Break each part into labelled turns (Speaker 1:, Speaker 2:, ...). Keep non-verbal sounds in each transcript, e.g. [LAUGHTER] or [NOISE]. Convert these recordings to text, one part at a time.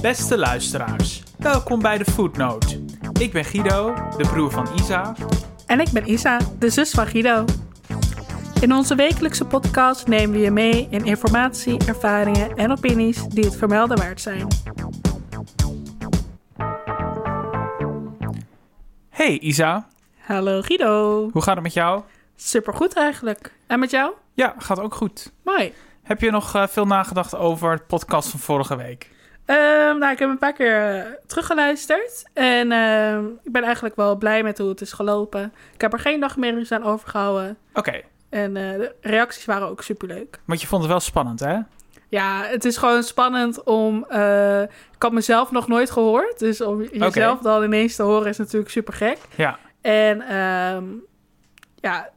Speaker 1: Beste luisteraars, welkom bij de Footnote. Ik ben Guido, de broer van Isa.
Speaker 2: En ik ben Isa, de zus van Guido. In onze wekelijkse podcast nemen we je mee in informatie, ervaringen en opinies die het vermelden waard zijn.
Speaker 1: Hey Isa,
Speaker 2: Hallo Guido.
Speaker 1: hoe gaat het met jou?
Speaker 2: Supergoed eigenlijk. En met jou?
Speaker 1: Ja, gaat ook goed.
Speaker 2: Mooi.
Speaker 1: Heb je nog eh, veel nagedacht over het podcast van vorige week?
Speaker 2: Ehm, nou, ik heb een paar keer eh, teruggeluisterd. En ehm, ik ben eigenlijk wel blij met hoe het is gelopen. Ik heb er geen nachtmerries aan overgehouden.
Speaker 1: Oké,
Speaker 2: En eh, de reacties waren ook superleuk.
Speaker 1: want je vond het wel spannend, hè?
Speaker 2: Ja, het is gewoon spannend om. eh, ik had mezelf nog nooit gehoord. Dus om jezelf dan ineens te horen is natuurlijk super gek.
Speaker 1: Ja.
Speaker 2: En ehm, ja,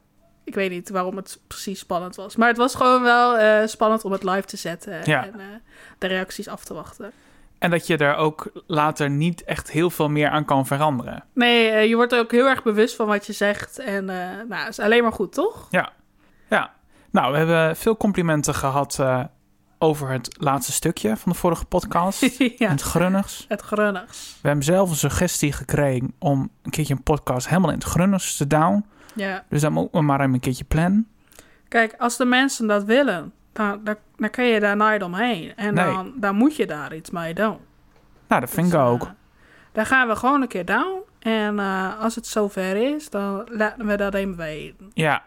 Speaker 2: ik weet niet waarom het precies spannend was. Maar het was gewoon wel eh, spannend om het live te zetten
Speaker 1: Ja.
Speaker 2: en eh, de reacties af te wachten.
Speaker 1: En dat je er ook later niet echt heel veel meer aan kan veranderen.
Speaker 2: Nee, eh, je wordt er ook heel erg bewust van wat je zegt. En eh nou, is alleen maar goed, toch? [LAUGHS]
Speaker 1: Ja, nou, we hebben veel complimenten gehad eh, over het laatste stukje van de vorige podcast. [LAUGHS]
Speaker 2: ja,
Speaker 1: En het grunnigs.
Speaker 2: het grunnigs.
Speaker 1: We hebben zelf een suggestie gekregen om een keertje een podcast helemaal in het grunnigs te down.
Speaker 2: Ja.
Speaker 1: Dus dat moeten we maar een keertje plannen.
Speaker 2: Kijk, als de mensen dat willen, dan, dan, dan kun je daar nooit omheen. En
Speaker 1: Nee.
Speaker 2: dan, dan moet je daar iets mee doen.
Speaker 1: Nou, dat vind ik
Speaker 2: Dus, eh,
Speaker 1: ook.
Speaker 2: Daar gaan we gewoon een keer down. En eh, als het zover is, dan laten we dat even weten.
Speaker 1: Ja,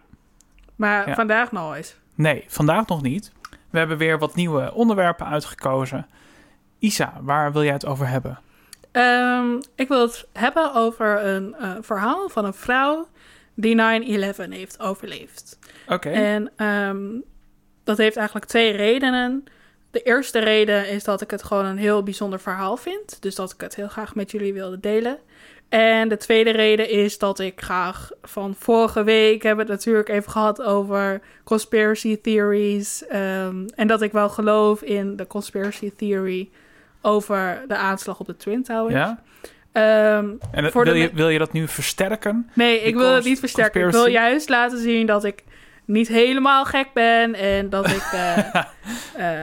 Speaker 2: Maar
Speaker 1: Ja.
Speaker 2: vandaag nog eens.
Speaker 1: nee, vandaag nog niet. We hebben weer wat nieuwe onderwerpen uitgekozen. Isa, waar wil jij het over hebben?
Speaker 2: Ehm, ik wil het hebben over een eh, verhaal van een vrouw die 9-11 heeft overleefd.
Speaker 1: Oké.
Speaker 2: En ehm, dat heeft eigenlijk twee redenen. De eerste reden is dat ik het gewoon een heel bijzonder verhaal vind. Dus dat ik het heel graag met jullie wilde delen. En de tweede reden is dat ik graag van vorige week hebben we het natuurlijk even gehad over conspiracy theories. ehm, en dat ik wel geloof in de conspiracy theory over de aanslag op de Twin Towers.
Speaker 1: Ja?
Speaker 2: Ehm,
Speaker 1: En dat-
Speaker 2: oh, Voor de
Speaker 1: wil, je,
Speaker 2: me-
Speaker 1: wil je dat nu versterken?
Speaker 2: Nee,
Speaker 1: Die
Speaker 2: ik wil het
Speaker 1: cons-
Speaker 2: niet versterken. Ik
Speaker 1: conspiracy.
Speaker 2: wil juist laten zien dat ik niet helemaal gek ben. En dat ik eh,
Speaker 1: [LAUGHS]
Speaker 2: eh,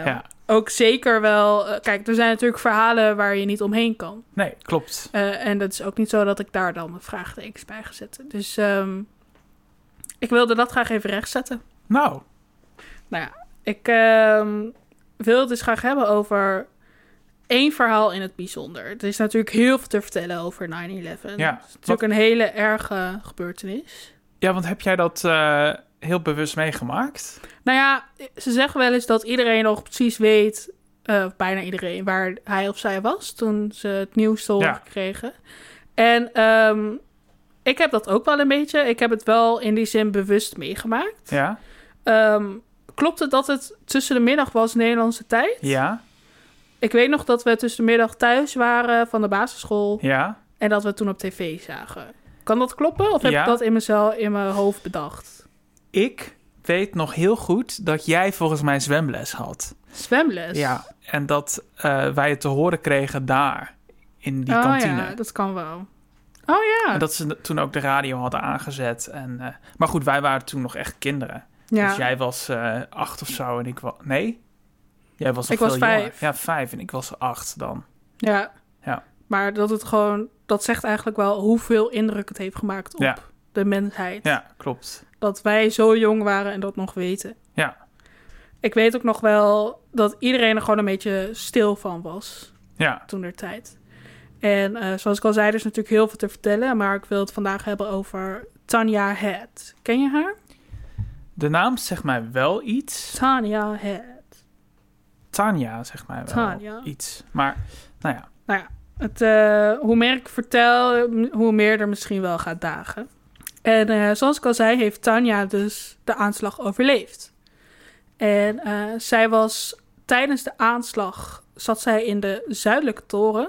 Speaker 1: Ja.
Speaker 2: ook zeker wel. eh, kijk, er zijn natuurlijk verhalen waar je niet omheen kan.
Speaker 1: Nee, klopt.
Speaker 2: Eh, en dat is ook niet zo dat ik daar dan vraagtekens bij ga zetten. Dus ehm, ik wilde dat graag even rechtzetten.
Speaker 1: Nou,
Speaker 2: Ik ehm, wil het dus graag hebben over één verhaal in het bijzonder. Er is natuurlijk heel veel te vertellen over 9-11. Het is
Speaker 1: ja.
Speaker 2: natuurlijk een hele erge gebeurtenis.
Speaker 1: Ja, want heb jij dat eh, heel bewust meegemaakt?
Speaker 2: Nou ja, ze zeggen wel eens dat iedereen nog precies weet, eh, of bijna iedereen, waar hij of zij was toen ze het nieuws te horen
Speaker 1: Ja.
Speaker 2: kregen. En ehm, ik heb dat ook wel een beetje. Ik heb het wel in die zin bewust meegemaakt.
Speaker 1: Ja.
Speaker 2: Ehm, klopt het dat het tussen de middag was Nederlandse tijd?
Speaker 1: Ja.
Speaker 2: Ik weet nog dat we tussen de middag thuis waren van de basisschool
Speaker 1: Ja.
Speaker 2: en dat we het toen op tv zagen. Kan dat kloppen of heb
Speaker 1: Ja.
Speaker 2: ik dat in mezelf in mijn hoofd bedacht?
Speaker 1: Ik weet nog heel goed dat jij volgens mij zwemles had.
Speaker 2: Zwemles.
Speaker 1: Ja, en dat eh, wij het te horen kregen daar, in die
Speaker 2: oh,
Speaker 1: kantine.
Speaker 2: ja, dat kan wel. Oh ja.
Speaker 1: En dat ze toen ook de radio hadden aangezet. En, eh, maar goed, wij waren toen nog echt kinderen.
Speaker 2: Ja.
Speaker 1: Dus jij was eh, acht of zo en ik was... Nee? Jij was nog
Speaker 2: Ik was
Speaker 1: veel jonger.
Speaker 2: vijf.
Speaker 1: Ja, vijf en ik was acht dan.
Speaker 2: ja.
Speaker 1: Ja.
Speaker 2: Maar dat het gewoon, dat zegt eigenlijk wel hoeveel indruk het heeft gemaakt op
Speaker 1: Ja.
Speaker 2: de mensheid.
Speaker 1: Ja, klopt.
Speaker 2: Dat wij zo jong waren en dat nog weten.
Speaker 1: Ja.
Speaker 2: Ik weet ook nog wel dat iedereen er gewoon een beetje stil van was
Speaker 1: Ja,
Speaker 2: toen der tijd. En eh, zoals ik al zei, er is natuurlijk heel veel te vertellen. Maar ik wil het vandaag hebben over Tanya Head. Ken je haar?
Speaker 1: de naam zegt mij wel iets.
Speaker 2: Tanya Head.
Speaker 1: Tanja zegt mij wel
Speaker 2: Tanja.
Speaker 1: iets. Maar, nou ja.
Speaker 2: Het, eh, hoe meer ik vertel, m- hoe meer er misschien wel gaat dagen. En eh, zoals ik al zei, heeft Tanja dus de aanslag overleefd. En eh, zij was tijdens de aanslag zat zij in de zuidelijke toren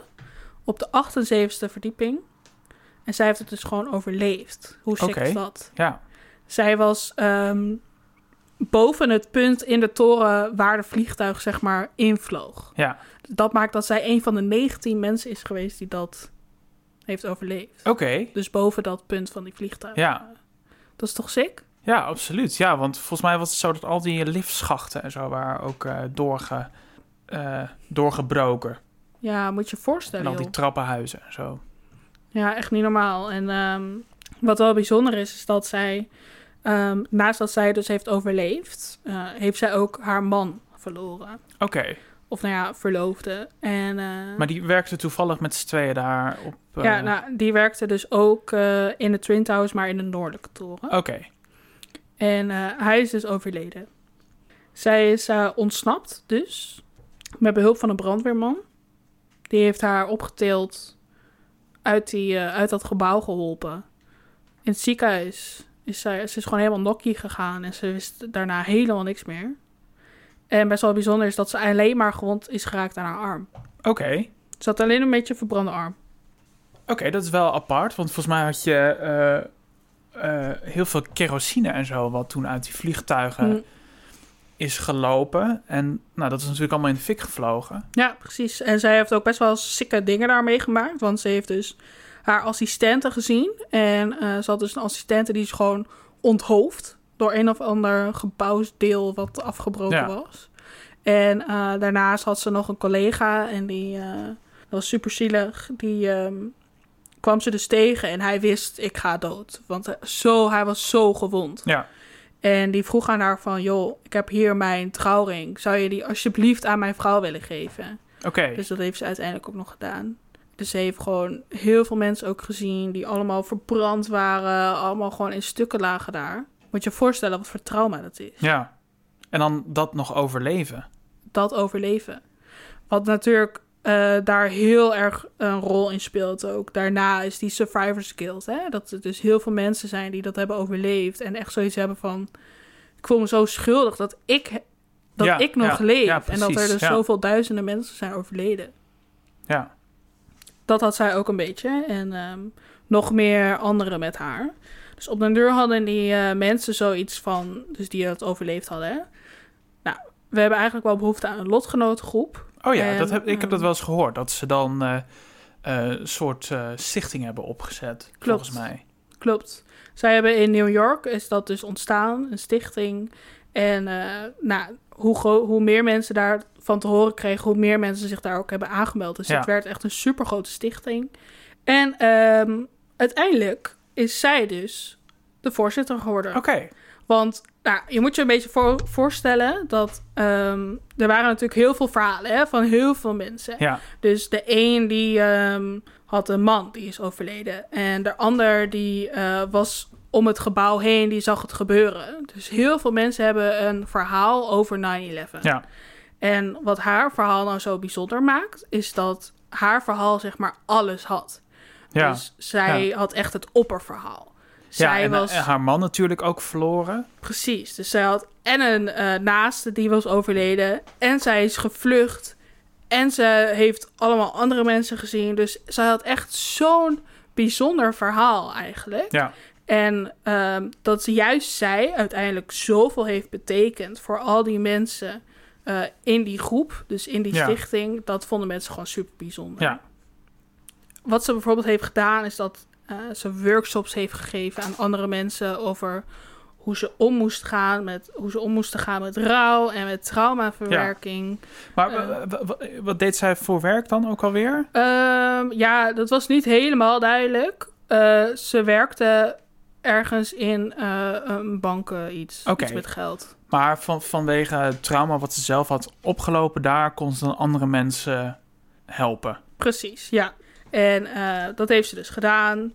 Speaker 2: op de 78e verdieping. En zij heeft het dus gewoon overleefd. Hoe sick
Speaker 1: Oké.
Speaker 2: is dat?
Speaker 1: Ja,
Speaker 2: Zij was ehm, boven het punt in de toren waar de vliegtuig zeg maar invloog.
Speaker 1: Ja.
Speaker 2: Dat maakt dat zij een van de 19 mensen is geweest die dat heeft overleefd.
Speaker 1: oké.
Speaker 2: Dus boven dat punt van die vliegtuig. Eh,
Speaker 1: Ja.
Speaker 2: Dat is toch sick?
Speaker 1: Ja, absoluut. Ja, want volgens mij was het zo dat al die liftschachten en zo waren ook eh, doorge, eh, doorgebroken.
Speaker 2: Ja, moet je je
Speaker 1: En
Speaker 2: voorstellen.
Speaker 1: al die
Speaker 2: joh.
Speaker 1: trappenhuizen en zo.
Speaker 2: Ja, echt niet normaal. En ehm, wat wel bijzonder is, is dat zij, ehm, naast dat zij dus heeft overleefd, eh, heeft zij ook haar man verloren.
Speaker 1: Oké,
Speaker 2: Of nou ja, verloofde. En, eh,
Speaker 1: maar die werkte toevallig met z'n tweeën daar op... eh,
Speaker 2: ja, nou, die werkte dus ook eh, in de Twin Towers, maar in de noordelijke toren.
Speaker 1: Oké,
Speaker 2: En eh, hij is dus overleden. Zij is eh, ontsnapt dus, met behulp van een brandweerman. Die heeft haar opgetild, uit, die, eh, uit dat gebouw geholpen. In het ziekenhuis is zij, ze is gewoon helemaal nokkie gegaan en ze wist daarna helemaal niks meer. En best wel bijzonder is dat ze alleen maar gewond is geraakt aan haar arm.
Speaker 1: oké.
Speaker 2: Ze had alleen een beetje een verbrande arm.
Speaker 1: Oké, dat is wel apart, want volgens mij had je eh, eh, heel veel kerosine en zo... wat toen uit die vliegtuigen
Speaker 2: Mm.
Speaker 1: is gelopen. En nou, dat is natuurlijk allemaal in de fik gevlogen.
Speaker 2: Ja, precies. En zij heeft ook best wel sikke dingen daar meegemaakt. Want ze heeft dus haar assistenten gezien. En eh, ze had dus een assistente die is gewoon onthoofd. Door een of ander gebouwsdeel wat afgebroken
Speaker 1: Ja.
Speaker 2: was. En eh, daarnaast had ze nog een collega. En die eh, dat was super zielig. Die ehm, kwam ze dus tegen. En hij wist, ik ga dood. Want eh, zo, hij was zo gewond.
Speaker 1: Ja,
Speaker 2: En die vroeg aan haar van... joh, ik heb hier mijn trouwring. Zou je die alsjeblieft aan mijn vrouw willen geven?
Speaker 1: oké.
Speaker 2: Dus dat heeft ze uiteindelijk ook nog gedaan. Dus ze heeft gewoon heel veel mensen ook gezien die allemaal verbrand waren, allemaal gewoon in stukken lagen daar. Moet je je voorstellen wat voor trauma dat is.
Speaker 1: Ja. En dan dat nog overleven.
Speaker 2: Dat overleven. Wat natuurlijk eh, daar heel erg een rol in speelt ook. Daarna is die survivor's guild. Hè? Dat er dus heel veel mensen zijn die dat hebben overleefd. En echt zoiets hebben van... Ik voel me zo schuldig dat ik, dat
Speaker 1: Ja,
Speaker 2: ik nog
Speaker 1: ja,
Speaker 2: leef.
Speaker 1: ja,
Speaker 2: en dat er
Speaker 1: precies,
Speaker 2: dus
Speaker 1: ja.
Speaker 2: zoveel duizenden mensen zijn overleden.
Speaker 1: Ja.
Speaker 2: dat had zij ook een beetje. En ehm, nog meer anderen met haar. Dus op den deur hadden die eh, mensen zoiets van... Dus die dat overleefd hadden, hè? Nou, we hebben eigenlijk wel behoefte aan een lotgenotengroep.
Speaker 1: Oh ja,
Speaker 2: En,
Speaker 1: dat heb, ik heb dat
Speaker 2: ehm,
Speaker 1: wel eens gehoord. Dat ze dan eh, eh, een soort eh, stichting hebben opgezet, volgens mij.
Speaker 2: Klopt. Zij hebben in New York, is dat dus ontstaan, een stichting. En eh, nou, hoe, gro- hoe meer mensen daarvan te horen kregen, hoe meer mensen zich daar ook hebben aangemeld. Dus
Speaker 1: Ja.
Speaker 2: het werd echt een supergrote stichting. En ehm, uiteindelijk is zij dus de voorzitter geworden.
Speaker 1: Oké,
Speaker 2: Want nou, je moet je een beetje voor- voorstellen dat ehm, er waren natuurlijk heel veel verhalen hè, van heel veel mensen.
Speaker 1: ja.
Speaker 2: Dus de een die ehm, had een man die is overleden. En de ander die eh, was om het gebouw heen, die zag het gebeuren. Dus heel veel mensen hebben een verhaal over 9-11.
Speaker 1: Ja,
Speaker 2: En wat haar verhaal nou zo bijzonder maakt, is dat haar verhaal zeg maar alles had.
Speaker 1: ja.
Speaker 2: Dus zij had echt het opperverhaal.
Speaker 1: ja
Speaker 2: Zij
Speaker 1: en, eh,
Speaker 2: was...
Speaker 1: en haar man natuurlijk ook verloren.
Speaker 2: Precies. Dus zij had en een eh, naaste die was overleden. En zij is gevlucht. En ze heeft allemaal andere mensen gezien. Dus zij had echt zo'n bijzonder verhaal eigenlijk.
Speaker 1: Ja,
Speaker 2: En ehm, dat ze juist zij uiteindelijk zoveel heeft betekend voor al die mensen eh, in die groep, dus in die
Speaker 1: Ja.
Speaker 2: stichting, dat vonden mensen gewoon super bijzonder.
Speaker 1: Ja.
Speaker 2: Wat ze bijvoorbeeld heeft gedaan, is dat eh, ze workshops heeft gegeven aan andere mensen over hoe ze om moest gaan met, hoe ze om moesten gaan met rouw en met traumaverwerking.
Speaker 1: maar
Speaker 2: Eh.
Speaker 1: w- w- w- wat deed zij voor werk dan ook alweer?
Speaker 2: Ehm, ja, dat was niet helemaal duidelijk. Eh, ze werkte ergens in eh, een banken iets.
Speaker 1: Oké.
Speaker 2: Iets met geld.
Speaker 1: Maar van, vanwege het trauma wat ze zelf had opgelopen, daar kon ze dan andere mensen helpen.
Speaker 2: Precies, ja. En eh, dat heeft ze dus gedaan.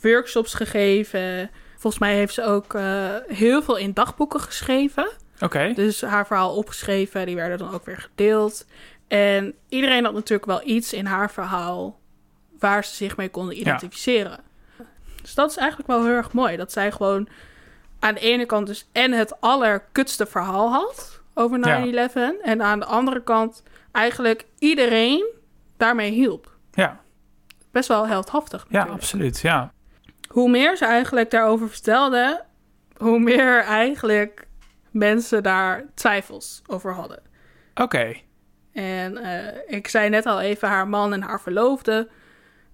Speaker 2: Workshops gegeven. Volgens mij heeft ze ook eh, heel veel in dagboeken geschreven.
Speaker 1: Oké,
Speaker 2: Dus haar verhaal opgeschreven, die werden dan ook weer gedeeld. En iedereen had natuurlijk wel iets in haar verhaal waar ze zich mee konden identificeren. Dus dat is eigenlijk wel heel erg mooi. Dat zij gewoon aan de ene kant dus en het allerkutste verhaal had over 9-11.
Speaker 1: Ja.
Speaker 2: En aan de andere kant eigenlijk iedereen daarmee hielp.
Speaker 1: ja,
Speaker 2: Best wel heldhaftig
Speaker 1: ja
Speaker 2: natuurlijk
Speaker 1: absoluut. Ja.
Speaker 2: hoe meer ze eigenlijk daarover vertelde, hoe meer eigenlijk mensen daar twijfels over hadden.
Speaker 1: Oké,
Speaker 2: En eh, ik zei net al even, haar man en haar verloofde,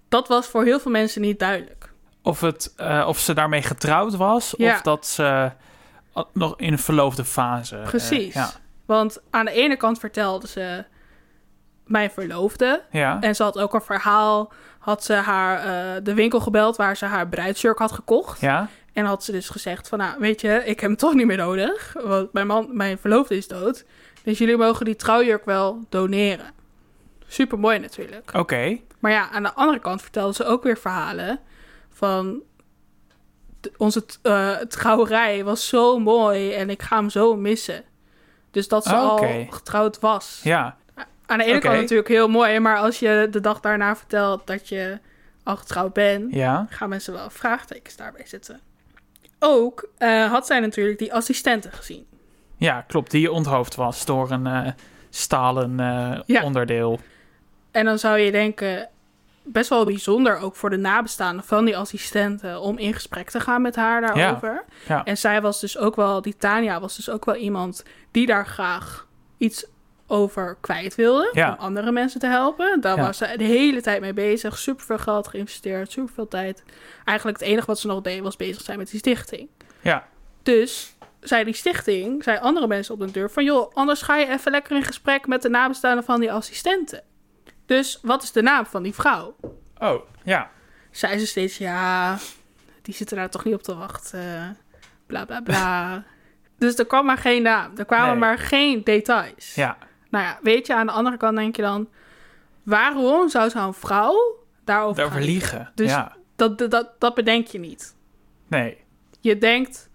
Speaker 2: dat was voor heel veel mensen niet duidelijk.
Speaker 1: of, het, eh, of ze daarmee getrouwd was,
Speaker 2: Ja.
Speaker 1: of dat ze al- nog in een verloofde fase. eh,
Speaker 2: Precies.
Speaker 1: ja.
Speaker 2: Want aan de ene kant vertelde ze mijn verloofde.
Speaker 1: Ja.
Speaker 2: En ze had ook een verhaal. Had ze haar, eh, de winkel gebeld waar ze haar bruidsjurk had gekocht.
Speaker 1: Ja.
Speaker 2: En had ze dus gezegd van, nou, weet je, ik heb hem toch niet meer nodig. Want mijn, man, mijn verloofde is dood. Dus jullie mogen die trouwjurk wel doneren. Super mooi natuurlijk.
Speaker 1: Oké.
Speaker 2: Maar ja, aan de andere kant vertelden ze ook weer verhalen van de- onze t- eh, trouwerij was zo mooi en ik ga hem zo missen. Dus dat ze
Speaker 1: Oh,
Speaker 2: al
Speaker 1: oké.
Speaker 2: getrouwd was.
Speaker 1: Ja.
Speaker 2: Aan de ene
Speaker 1: Oké.
Speaker 2: kant natuurlijk heel mooi, maar als je de dag daarna vertelt dat je al getrouwd bent,
Speaker 1: Ja.
Speaker 2: gaan mensen wel vraagtekens daarbij zetten. Ook eh, had zij natuurlijk die assistenten gezien.
Speaker 1: Ja, klopt. Die onthoofd was door een eh, stalen eh,
Speaker 2: Ja.
Speaker 1: onderdeel.
Speaker 2: En dan zou je denken, best wel bijzonder ook voor de nabestaanden van die assistenten om in gesprek te gaan met haar daarover.
Speaker 1: ja.
Speaker 2: En zij was dus ook wel, die Tania was dus ook wel iemand die daar graag iets over kwijt wilde.
Speaker 1: Ja.
Speaker 2: Om andere mensen te helpen. Daar
Speaker 1: Ja.
Speaker 2: was ze de hele tijd mee bezig. Super veel geld geïnvesteerd, super veel tijd. Eigenlijk het enige wat ze nog deed was bezig zijn met die stichting.
Speaker 1: Ja.
Speaker 2: Dus zei die stichting, zei andere mensen op de deur van... joh, anders ga je even lekker in gesprek met de nabestaanden van die assistenten. Dus wat is de naam van die vrouw?
Speaker 1: Oh, ja.
Speaker 2: Zei ze steeds, ja, die zitten daar toch niet op te wachten. Bla, bla,
Speaker 1: [LAUGHS]
Speaker 2: bla. dus er kwam maar geen naam. Er kwamen
Speaker 1: Nee.
Speaker 2: maar geen details.
Speaker 1: Ja.
Speaker 2: Nou ja, weet je, aan de andere kant denk je dan... waarom zou zo'n vrouw daarover
Speaker 1: Daarover
Speaker 2: gaan
Speaker 1: liegen.
Speaker 2: Dus
Speaker 1: Ja.
Speaker 2: Dat, dat, dat bedenk je niet.
Speaker 1: Nee.
Speaker 2: Je denkt,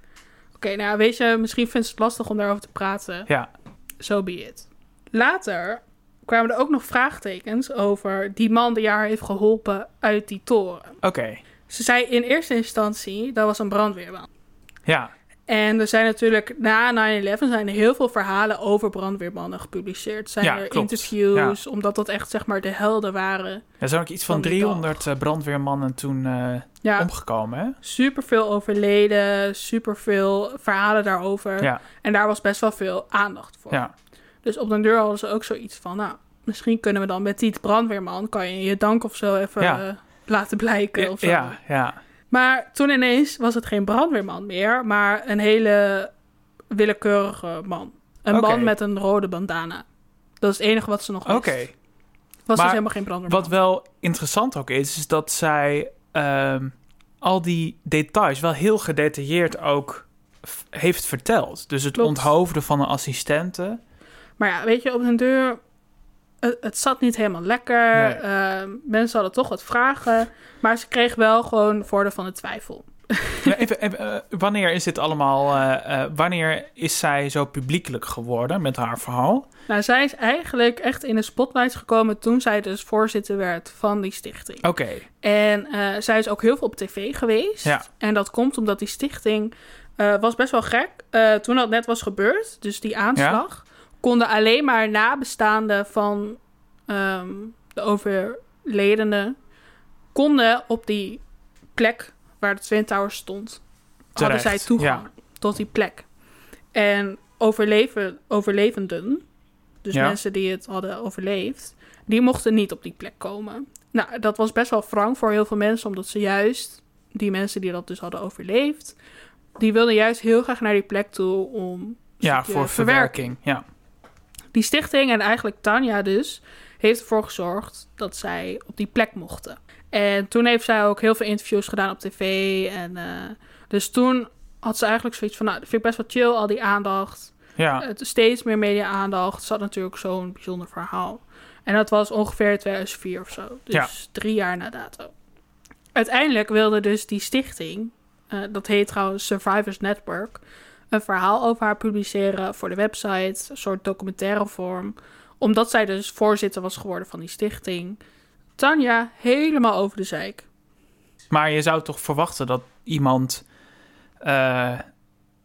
Speaker 2: oké, nou ja, weet je, misschien vindt ze het lastig om daarover te praten.
Speaker 1: Ja.
Speaker 2: So be it. Later kwamen er ook nog vraagtekens over die man die haar heeft geholpen uit die toren.
Speaker 1: Oké.
Speaker 2: Ze zei in eerste instantie, dat was een brandweerman.
Speaker 1: Ja.
Speaker 2: En er zijn natuurlijk na 9-11 zijn er heel veel verhalen over brandweermannen gepubliceerd. Zijn
Speaker 1: Ja,
Speaker 2: er
Speaker 1: klopt.
Speaker 2: interviews, omdat dat echt zeg maar de helden waren.
Speaker 1: Er zijn ook iets van,
Speaker 2: Van die
Speaker 1: 300 eh, brandweermannen toen eh,
Speaker 2: Ja,
Speaker 1: omgekomen, hè?
Speaker 2: superveel overleden, superveel verhalen daarover.
Speaker 1: Ja.
Speaker 2: En daar was best wel veel aandacht voor.
Speaker 1: Ja.
Speaker 2: Dus op den deur hadden ze ook zoiets van, nou, misschien kunnen we dan met die brandweerman, kan je je dank of zo even
Speaker 1: Ja.
Speaker 2: eh, laten blijken of zo.
Speaker 1: Ja. Ja.
Speaker 2: Maar toen ineens was het geen brandweerman meer, maar een hele willekeurige man. Een
Speaker 1: Oké.
Speaker 2: man met een rode bandana. Dat is het enige wat ze nog
Speaker 1: Oké.
Speaker 2: wist. Was dus
Speaker 1: maar
Speaker 2: helemaal geen brandweerman.
Speaker 1: Wat wel interessant ook is, is dat zij ehm, al die details wel heel gedetailleerd ook f- heeft verteld. Dus het
Speaker 2: Klopt.
Speaker 1: onthoofden van een assistente.
Speaker 2: [LAUGHS] Maar ja, weet je, op den deur... Het, het zat niet helemaal lekker.
Speaker 1: Nee.
Speaker 2: Ehm, mensen hadden toch wat vragen. Maar ze kreeg wel gewoon voordeel van de twijfel.
Speaker 1: Ja, even, even, eh, wanneer is dit allemaal? eh, eh, wanneer is zij zo publiekelijk geworden met haar verhaal?
Speaker 2: Nou, zij is eigenlijk echt in de spotlight gekomen toen zij dus voorzitter werd van die stichting.
Speaker 1: Oké,
Speaker 2: En eh, zij is ook heel veel op tv geweest.
Speaker 1: Ja.
Speaker 2: En dat komt omdat die stichting eh, was best wel gek. Eh, toen dat net was gebeurd, dus die aanslag, konden alleen maar nabestaanden van ehm, de overledenen konden op die plek waar de Twin Towers stond,
Speaker 1: Terecht,
Speaker 2: hadden zij toegang tot die plek. En overleven, overlevenden, dus
Speaker 1: Ja.
Speaker 2: mensen die het hadden overleefd, die mochten niet op die plek komen. Nou, dat was best wel wrang voor heel veel mensen, omdat ze juist, die mensen die dat dus hadden overleefd, die wilden juist heel graag naar die plek toe om.
Speaker 1: ja,
Speaker 2: stukje
Speaker 1: voor verwerking. Ja,
Speaker 2: Die stichting en eigenlijk Tanja dus, heeft ervoor gezorgd dat zij op die plek mochten. En toen heeft zij ook heel veel interviews gedaan op tv. En, eh, dus toen had ze eigenlijk zoiets van, nou, dat vind ik best wel chill, al die aandacht.
Speaker 1: ja,
Speaker 2: Het, steeds meer media-aandacht. Zat natuurlijk zo'n bijzonder verhaal. En dat was ongeveer 2004 of zo. Dus
Speaker 1: Ja.
Speaker 2: drie jaar na dato. Uiteindelijk wilde dus die stichting, eh, dat heet trouwens Survivors Network, een verhaal over haar publiceren voor de website, een soort documentaire vorm. Omdat zij dus voorzitter was geworden van die stichting. Tanja helemaal over de zeik.
Speaker 1: maar je zou toch verwachten dat iemand, eh,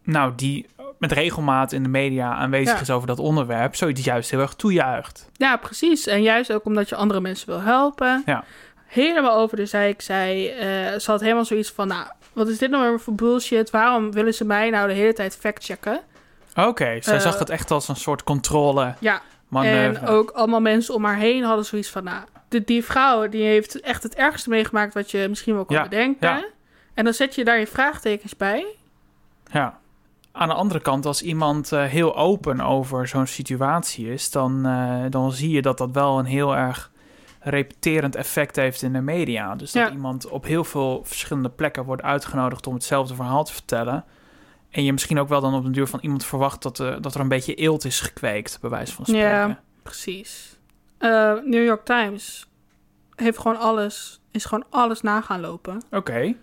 Speaker 1: nou, die met regelmaat in de media aanwezig
Speaker 2: Ja.
Speaker 1: is over dat onderwerp, zoiets juist heel erg toejuicht.
Speaker 2: Ja, precies. En juist ook omdat je andere mensen wil helpen.
Speaker 1: Ja.
Speaker 2: Helemaal over de zeik. Zij eh, ze had helemaal zoiets van... Nou, wat is dit nou weer voor bullshit? Waarom willen ze mij nou de hele tijd factchecken?
Speaker 1: Oké, zij
Speaker 2: Eh,
Speaker 1: zag dat echt als een soort controle.
Speaker 2: Ja,
Speaker 1: manoeuvre.
Speaker 2: en ook allemaal mensen om haar heen hadden zoiets van... Nou, die, die vrouw die heeft echt het ergste meegemaakt... wat je misschien wel kon
Speaker 1: Ja,
Speaker 2: bedenken.
Speaker 1: ja.
Speaker 2: En dan zet je daar je vraagtekens bij.
Speaker 1: Ja. aan de andere kant, als iemand eh, heel open over zo'n situatie is, dan, eh, dan zie je dat dat wel een heel erg repeterend effect heeft in de media. Dus dat
Speaker 2: Ja.
Speaker 1: iemand op heel veel verschillende plekken wordt uitgenodigd om hetzelfde verhaal te vertellen. En je misschien ook wel dan op de duur van iemand verwacht dat, eh, dat er een beetje eelt is gekweekt, bij wijze van spreken.
Speaker 2: Ja. Precies. Eh, New York Times heeft gewoon alles, is gewoon alles na gaan lopen.
Speaker 1: Oké,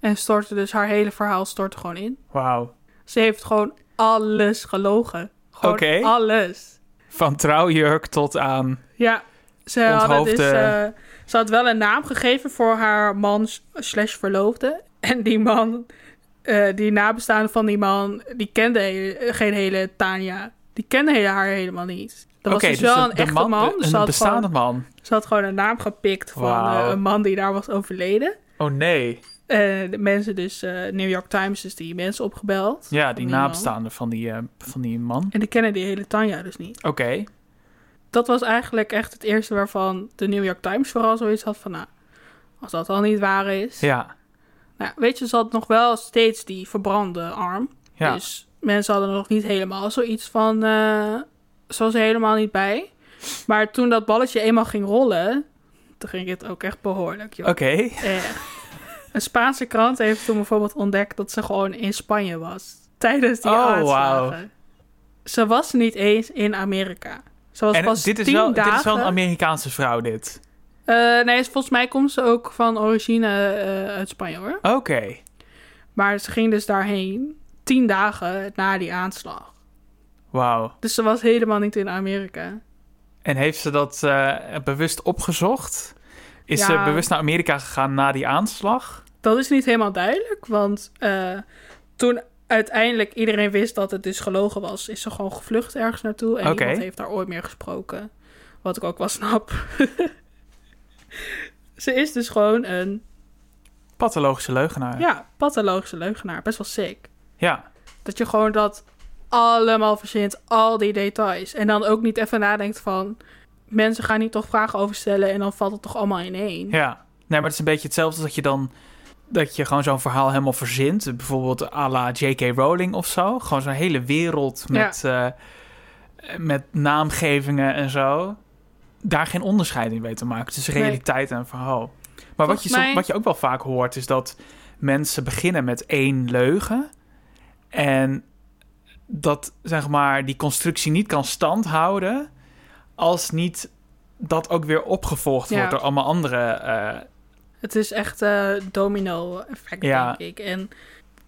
Speaker 2: En stortte dus haar hele verhaal stortte gewoon in.
Speaker 1: wauw.
Speaker 2: Ze heeft gewoon alles gelogen. Gewoon
Speaker 1: Oké.
Speaker 2: alles.
Speaker 1: Van trouwjurk tot aan...
Speaker 2: Ja, ze, hadden dus,
Speaker 1: Onthoofde.
Speaker 2: eh, ze had wel een naam gegeven voor haar man s- slash verloofde. [LAUGHS] En die man, eh, die nabestaande van die man, die kende he- geen hele Tanja. Die kende hele haar helemaal niet. Dat
Speaker 1: Oké,
Speaker 2: was dus, wel
Speaker 1: de-
Speaker 2: een
Speaker 1: de
Speaker 2: echte man.
Speaker 1: de-
Speaker 2: dus ze,
Speaker 1: een
Speaker 2: had
Speaker 1: bestaande
Speaker 2: gewoon,
Speaker 1: man.
Speaker 2: ze had gewoon een naam gepikt van
Speaker 1: Wauw.
Speaker 2: eh, een man die daar was overleden.
Speaker 1: Oh nee.
Speaker 2: Eh, de mensen dus, eh, New York Times, dus die mensen opgebeld.
Speaker 1: Ja,
Speaker 2: Van
Speaker 1: die
Speaker 2: man.
Speaker 1: nabestaande van die, eh, van die man.
Speaker 2: En die kennen die hele Tanja dus niet.
Speaker 1: Oké.
Speaker 2: dat was eigenlijk echt het eerste waarvan de New York Times vooral zoiets had van, nou, als dat al niet waar is.
Speaker 1: Ja.
Speaker 2: Nou, weet je, ze had nog wel steeds die verbrande arm.
Speaker 1: Ja.
Speaker 2: Dus mensen hadden nog niet helemaal zoiets van, eh ze was er helemaal niet bij. Maar toen dat balletje eenmaal ging rollen, toen ging het ook echt behoorlijk, joh.
Speaker 1: Oké.
Speaker 2: Echt. Een Spaanse krant heeft toen bijvoorbeeld ontdekt dat ze gewoon in Spanje was. Tijdens die
Speaker 1: Oh, wauw.
Speaker 2: aanslagen. Ze was niet eens in Amerika. Ze was
Speaker 1: En
Speaker 2: pas
Speaker 1: dit is,
Speaker 2: tien
Speaker 1: wel,
Speaker 2: dagen...
Speaker 1: dit is wel een Amerikaanse vrouw, dit.
Speaker 2: Eh, nee, is- volgens mij komt ze ook van origine eh, uit Spanje hoor.
Speaker 1: Oké.
Speaker 2: Maar ze ging dus daarheen tien dagen na die aanslag.
Speaker 1: Wauw.
Speaker 2: Dus ze was helemaal niet in Amerika.
Speaker 1: En heeft ze dat eh, bewust opgezocht? Is
Speaker 2: Ja.
Speaker 1: ze bewust naar Amerika gegaan na die aanslag?
Speaker 2: Dat is niet helemaal duidelijk, want eh, toen uiteindelijk iedereen wist dat het dus gelogen was, is ze gewoon gevlucht ergens naartoe en
Speaker 1: Oké.
Speaker 2: niemand heeft daar ooit meer gesproken. Wat ik ook wel snap. [LAUGHS] ze is dus gewoon een
Speaker 1: Pathologische leugenaar.
Speaker 2: ja, pathologische leugenaar. Best wel sick.
Speaker 1: Ja.
Speaker 2: Dat je gewoon dat allemaal verzint, al die details. En dan ook niet even nadenkt van... mensen gaan hier toch vragen over stellen en dan valt het toch allemaal ineen.
Speaker 1: Ja. Nee, maar het is een beetje hetzelfde als dat je dan... Dat je gewoon zo'n verhaal helemaal verzint. Bijvoorbeeld à la J.K. Rowling of zo. Gewoon zo'n hele wereld met, eh, met naamgevingen en zo. Daar geen onderscheid in weet te maken tussen
Speaker 2: Nee.
Speaker 1: realiteit en verhaal. Maar wat je,
Speaker 2: Volgens
Speaker 1: som-
Speaker 2: mij-
Speaker 1: wat je ook wel vaak hoort is dat mensen beginnen met één leugen. En dat zeg maar die constructie niet kan standhouden. Als niet dat ook weer opgevolgd
Speaker 2: Ja.
Speaker 1: wordt door allemaal andere eh,
Speaker 2: Het is echt eh domino-effect,
Speaker 1: Ja.
Speaker 2: denk ik. En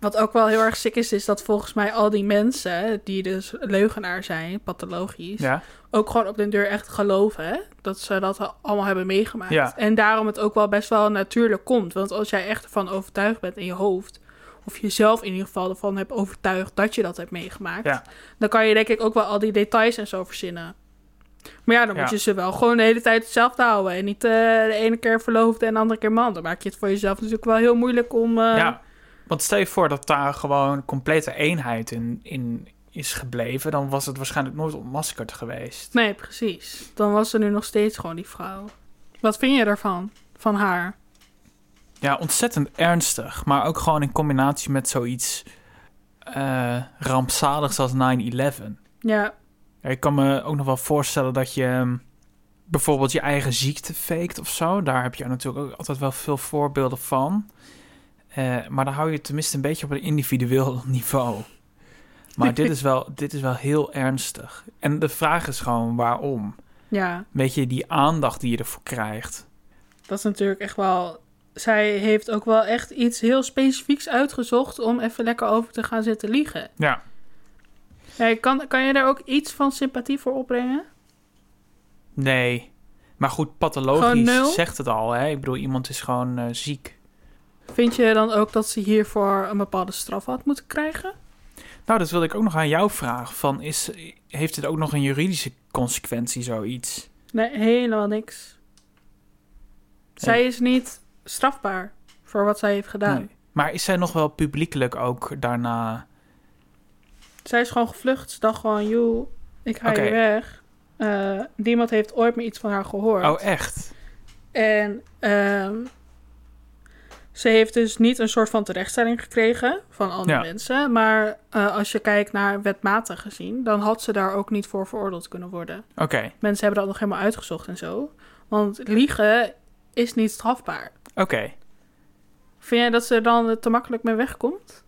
Speaker 2: wat ook wel heel erg sick is, is dat volgens mij al die mensen... die dus leugenaar zijn, pathologisch...
Speaker 1: Ja,
Speaker 2: ook gewoon op den deur echt geloven, hè? Dat ze dat allemaal hebben meegemaakt.
Speaker 1: Ja.
Speaker 2: En daarom het ook wel best wel natuurlijk komt. Want als jij echt ervan overtuigd bent in je hoofd... of jezelf in ieder geval ervan hebt overtuigd dat je dat hebt meegemaakt...
Speaker 1: Ja.
Speaker 2: dan kan je denk ik ook wel al die details en zo verzinnen. Maar ja, dan moet
Speaker 1: Ja.
Speaker 2: je ze wel gewoon de hele tijd hetzelfde houden. En niet eh, de ene keer verloofd en de andere keer man. Dan maak je het voor jezelf natuurlijk wel heel moeilijk om... eh,
Speaker 1: ja. Want stel je voor dat daar gewoon complete eenheid in, in is gebleven, dan was het waarschijnlijk nooit ontmaskerd geweest.
Speaker 2: Nee, precies. Dan was ze nu nog steeds gewoon die vrouw. Wat vind je daarvan? Van haar?
Speaker 1: Ja, ontzettend ernstig, maar ook gewoon in combinatie met zoiets eh, rampzaligs als 9-11.
Speaker 2: Ja,
Speaker 1: Ja, ik kan me ook nog wel voorstellen dat je ehm, bijvoorbeeld je eigen ziekte faked of zo. Daar heb je natuurlijk ook altijd wel veel voorbeelden van. Eh, maar dan hou je het tenminste een beetje op een individueel [LAUGHS] niveau. Maar dit is, wel, dit is wel heel ernstig. En de vraag is gewoon waarom.
Speaker 2: ja.
Speaker 1: Weet je, die aandacht die je ervoor krijgt.
Speaker 2: Dat is natuurlijk echt wel. Zij heeft ook wel echt iets heel specifieks uitgezocht om even lekker over te gaan zitten liegen.
Speaker 1: Ja.
Speaker 2: Ja, kan, kan je daar ook iets van sympathie voor opbrengen?
Speaker 1: Nee. Maar goed,
Speaker 2: Gewoon nul?
Speaker 1: pathologisch zegt het al. Hè? Ik bedoel, iemand is gewoon eh, ziek.
Speaker 2: Vind je dan ook dat ze hiervoor een bepaalde straf had moeten krijgen?
Speaker 1: Nou, dat wilde ik ook nog aan jou vragen. Van is, heeft dit ook nog een juridische consequentie, zoiets?
Speaker 2: Nee, helemaal niks. Zij is niet strafbaar voor wat zij heeft gedaan.
Speaker 1: Nee. Maar is zij nog wel publiekelijk ook daarna?
Speaker 2: Zij is gewoon gevlucht. Ze dacht gewoon, joh, ik ga
Speaker 1: Oké.
Speaker 2: hier weg. Eh, niemand heeft Oh, ooit meer iets van haar gehoord.
Speaker 1: Oh, echt?
Speaker 2: En ehm, Ze heeft dus niet een soort van terechtstelling gekregen van andere
Speaker 1: Ja.
Speaker 2: mensen. Maar eh, als je kijkt naar wetmatig gezien, dan had ze daar ook niet voor veroordeeld kunnen worden.
Speaker 1: Oké,
Speaker 2: Mensen hebben dat nog helemaal uitgezocht en zo. Want liegen is niet strafbaar.
Speaker 1: oké.
Speaker 2: Vind jij dat ze er dan te makkelijk mee wegkomt?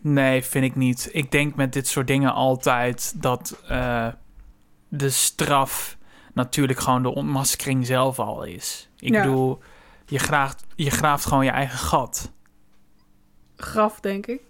Speaker 1: Nee, vind ik niet. Ik denk met dit soort dingen altijd dat eh, de straf natuurlijk gewoon de ontmaskering zelf al is. Ik
Speaker 2: Ja.
Speaker 1: bedoel, je graaft, je graaft gewoon je eigen gat.
Speaker 2: Graf, denk ik.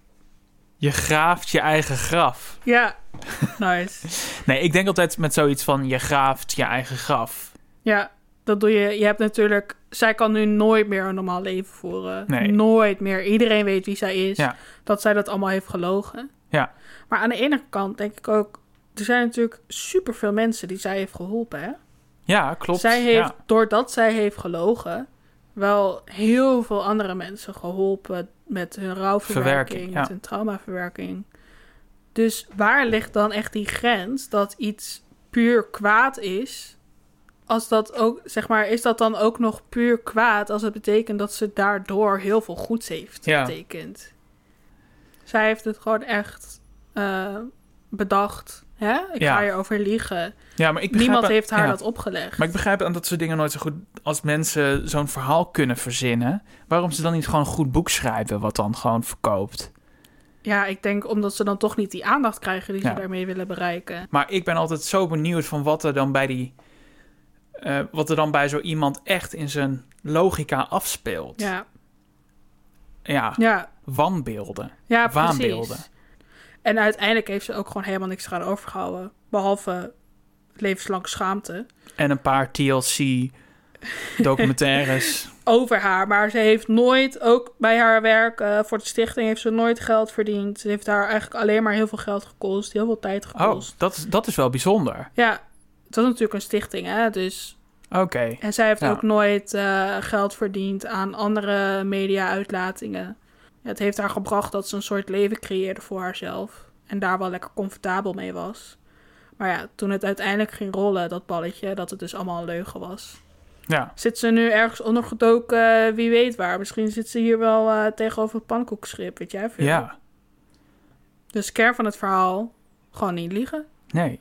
Speaker 1: Je graaft je eigen graf.
Speaker 2: Ja, [LAUGHS] nice.
Speaker 1: Nee, ik denk altijd met zoiets van je graaft je eigen graf.
Speaker 2: Ja, dat doe je. Je hebt natuurlijk. Zij kan nu nooit meer een normaal leven voeren.
Speaker 1: Nee.
Speaker 2: Nooit meer. Iedereen weet wie zij is.
Speaker 1: Ja.
Speaker 2: Dat zij dat allemaal heeft gelogen.
Speaker 1: Ja.
Speaker 2: Maar aan de ene kant denk ik ook. Er zijn natuurlijk superveel mensen die zij heeft geholpen. Hè?
Speaker 1: Ja, klopt.
Speaker 2: Zij heeft,
Speaker 1: Ja.
Speaker 2: doordat zij heeft gelogen, wel heel veel andere mensen geholpen met hun rouwverwerking,
Speaker 1: Verwerking,
Speaker 2: met
Speaker 1: ja.
Speaker 2: hun traumaverwerking. Dus waar ligt dan echt die grens dat iets puur kwaad is? Als dat ook, zeg maar, is dat dan ook nog puur kwaad als het betekent dat ze daardoor heel veel goeds heeft
Speaker 1: Ja.
Speaker 2: betekend? Zij heeft het gewoon echt eh, bedacht. Hè? Ik
Speaker 1: Ja.
Speaker 2: ga hierover liegen.
Speaker 1: Ja, maar ik begrijp
Speaker 2: Niemand heeft haar
Speaker 1: ja.
Speaker 2: dat opgelegd.
Speaker 1: Maar ik begrijp aan dat soort dingen nooit zo goed als mensen zo'n verhaal kunnen verzinnen. Waarom ze dan niet gewoon een goed boek schrijven, wat dan gewoon verkoopt.
Speaker 2: Ja, ik denk omdat ze dan toch niet die aandacht krijgen die
Speaker 1: Ja.
Speaker 2: ze daarmee willen bereiken.
Speaker 1: Maar ik ben altijd zo benieuwd van wat er dan bij die. eh, wat er dan bij zo iemand echt in zijn logica afspeelt.
Speaker 2: Ja,
Speaker 1: Ja,
Speaker 2: ja,
Speaker 1: wanbeelden.
Speaker 2: ja precies.
Speaker 1: Waanbeelden.
Speaker 2: En uiteindelijk heeft ze ook gewoon helemaal niks eraan overgehouden. Behalve levenslang schaamte
Speaker 1: En een paar
Speaker 2: [LAUGHS]
Speaker 1: TLC-documentaires.
Speaker 2: over haar. Maar ze heeft nooit, ook bij haar werk eh, voor de stichting, heeft ze nooit geld verdiend. Ze heeft haar eigenlijk alleen maar heel veel geld gekost, heel veel tijd
Speaker 1: oh,
Speaker 2: gekost.
Speaker 1: dat, is- dat is wel bijzonder.
Speaker 2: Ja, het was natuurlijk een stichting, hè. Dus...
Speaker 1: Oké.
Speaker 2: En zij heeft
Speaker 1: Ja.
Speaker 2: ook nooit eh, geld verdiend aan andere media-uitlatingen. Het heeft haar gebracht dat ze een soort leven creëerde voor haarzelf. En daar wel lekker comfortabel mee was. Maar ja, toen het uiteindelijk ging rollen, dat balletje, dat het dus allemaal een leugen was.
Speaker 1: Ja.
Speaker 2: Zit ze nu ergens ondergedoken, eh, wie weet waar. Misschien zit ze hier wel eh, tegenover het pannenkoekschip, weet jij veel.
Speaker 1: Ja.
Speaker 2: Dus kern van het verhaal, gewoon niet liegen.
Speaker 1: Nee.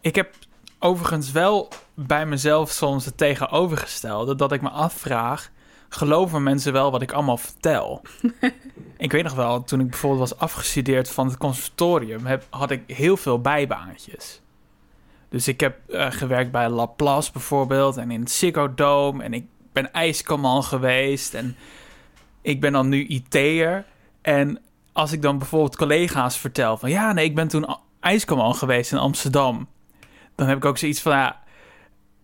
Speaker 1: Ik heb overigens wel bij mezelf soms het tegenovergestelde dat ik me afvraag: geloven mensen wel wat ik allemaal vertel? ik weet nog wel, toen ik bijvoorbeeld was afgestudeerd van het conservatorium, heb, had ik heel veel bijbaantjes. Dus ik heb eh, gewerkt bij Laplace bijvoorbeeld en in het Ziggo Dome en ik ben ijskaman geweest en ik ben dan nu IT'er. En als ik dan bijvoorbeeld collega's vertel van ja, nee, ik ben toen ijskaman geweest in Amsterdam. Dan heb ik ook zoiets van ja,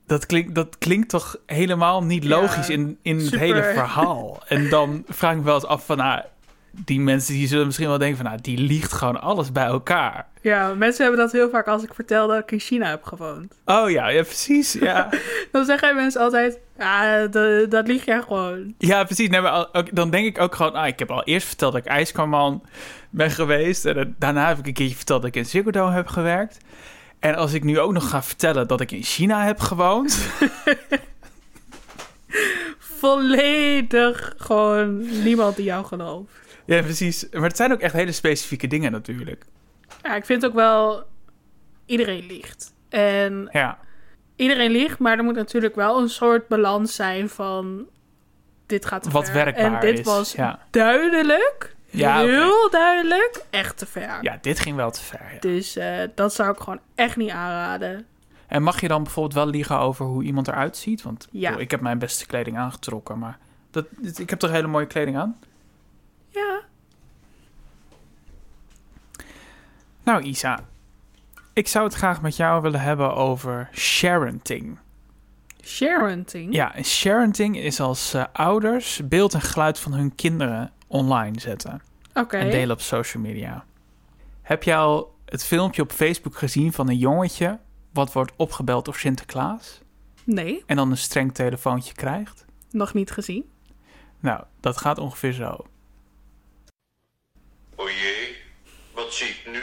Speaker 1: dat klinkt, dat klinkt toch helemaal niet
Speaker 2: Ja,
Speaker 1: logisch in, in het
Speaker 2: super.
Speaker 1: hele verhaal. En dan vraag ik me wel eens af van nou, die mensen die zullen misschien wel denken van nou, die liegt gewoon alles bij elkaar.
Speaker 2: Ja, mensen hebben dat heel vaak als ik vertel dat ik in China heb gewoond.
Speaker 1: Oh ja, ja precies. Ja,
Speaker 2: Dan zeggen mensen altijd, ja, dat, dat lieg jij gewoon.
Speaker 1: [LAUGHS] ja precies. Nee, maar al- ook- dan denk ik ook gewoon, ah, ik heb al eerst verteld dat ik ijskamerman ben geweest. En dan- daarna heb ik een keertje verteld dat ik in Ziggo Dome heb gewerkt. En als ik nu ook nog ga vertellen dat ik in China heb gewoond.
Speaker 2: Volledig gewoon niemand die jou gelooft.
Speaker 1: ja, precies. Maar het zijn ook echt hele specifieke dingen natuurlijk.
Speaker 2: Ja, ik vind ook wel, iedereen liegt. En
Speaker 1: Ja,
Speaker 2: iedereen liegt, maar er moet natuurlijk wel een soort balans zijn van, dit gaat te
Speaker 1: wat
Speaker 2: ver.
Speaker 1: werkbaar
Speaker 2: En dit
Speaker 1: is.
Speaker 2: was
Speaker 1: Ja.
Speaker 2: duidelijk,
Speaker 1: Ja, oké.
Speaker 2: heel duidelijk, echt te ver.
Speaker 1: ja, dit ging wel te ver. ja.
Speaker 2: Dus eh, dat zou ik gewoon echt niet aanraden.
Speaker 1: En mag je dan bijvoorbeeld wel liegen over hoe iemand eruit ziet? Want ik
Speaker 2: Ja.
Speaker 1: bedoel, ik heb mijn beste kleding aangetrokken, maar dat, dit- ik heb toch hele mooie kleding aan?
Speaker 2: Ja,
Speaker 1: Nou, Isa, ik zou het graag met jou willen hebben over sharenting.
Speaker 2: sharenting.
Speaker 1: Ja, en sharenting is als eh, ouders beeld en geluid van hun kinderen online zetten
Speaker 2: Oké.
Speaker 1: en delen op social media. Heb jij al het filmpje op Facebook gezien van een jongetje wat wordt opgebeld door Sinterklaas
Speaker 2: Nee,
Speaker 1: en dan een streng telefoontje krijgt?
Speaker 2: nog niet gezien.
Speaker 1: Nou, dat gaat ongeveer zo.
Speaker 3: O Oh jee, wat zie ik nu?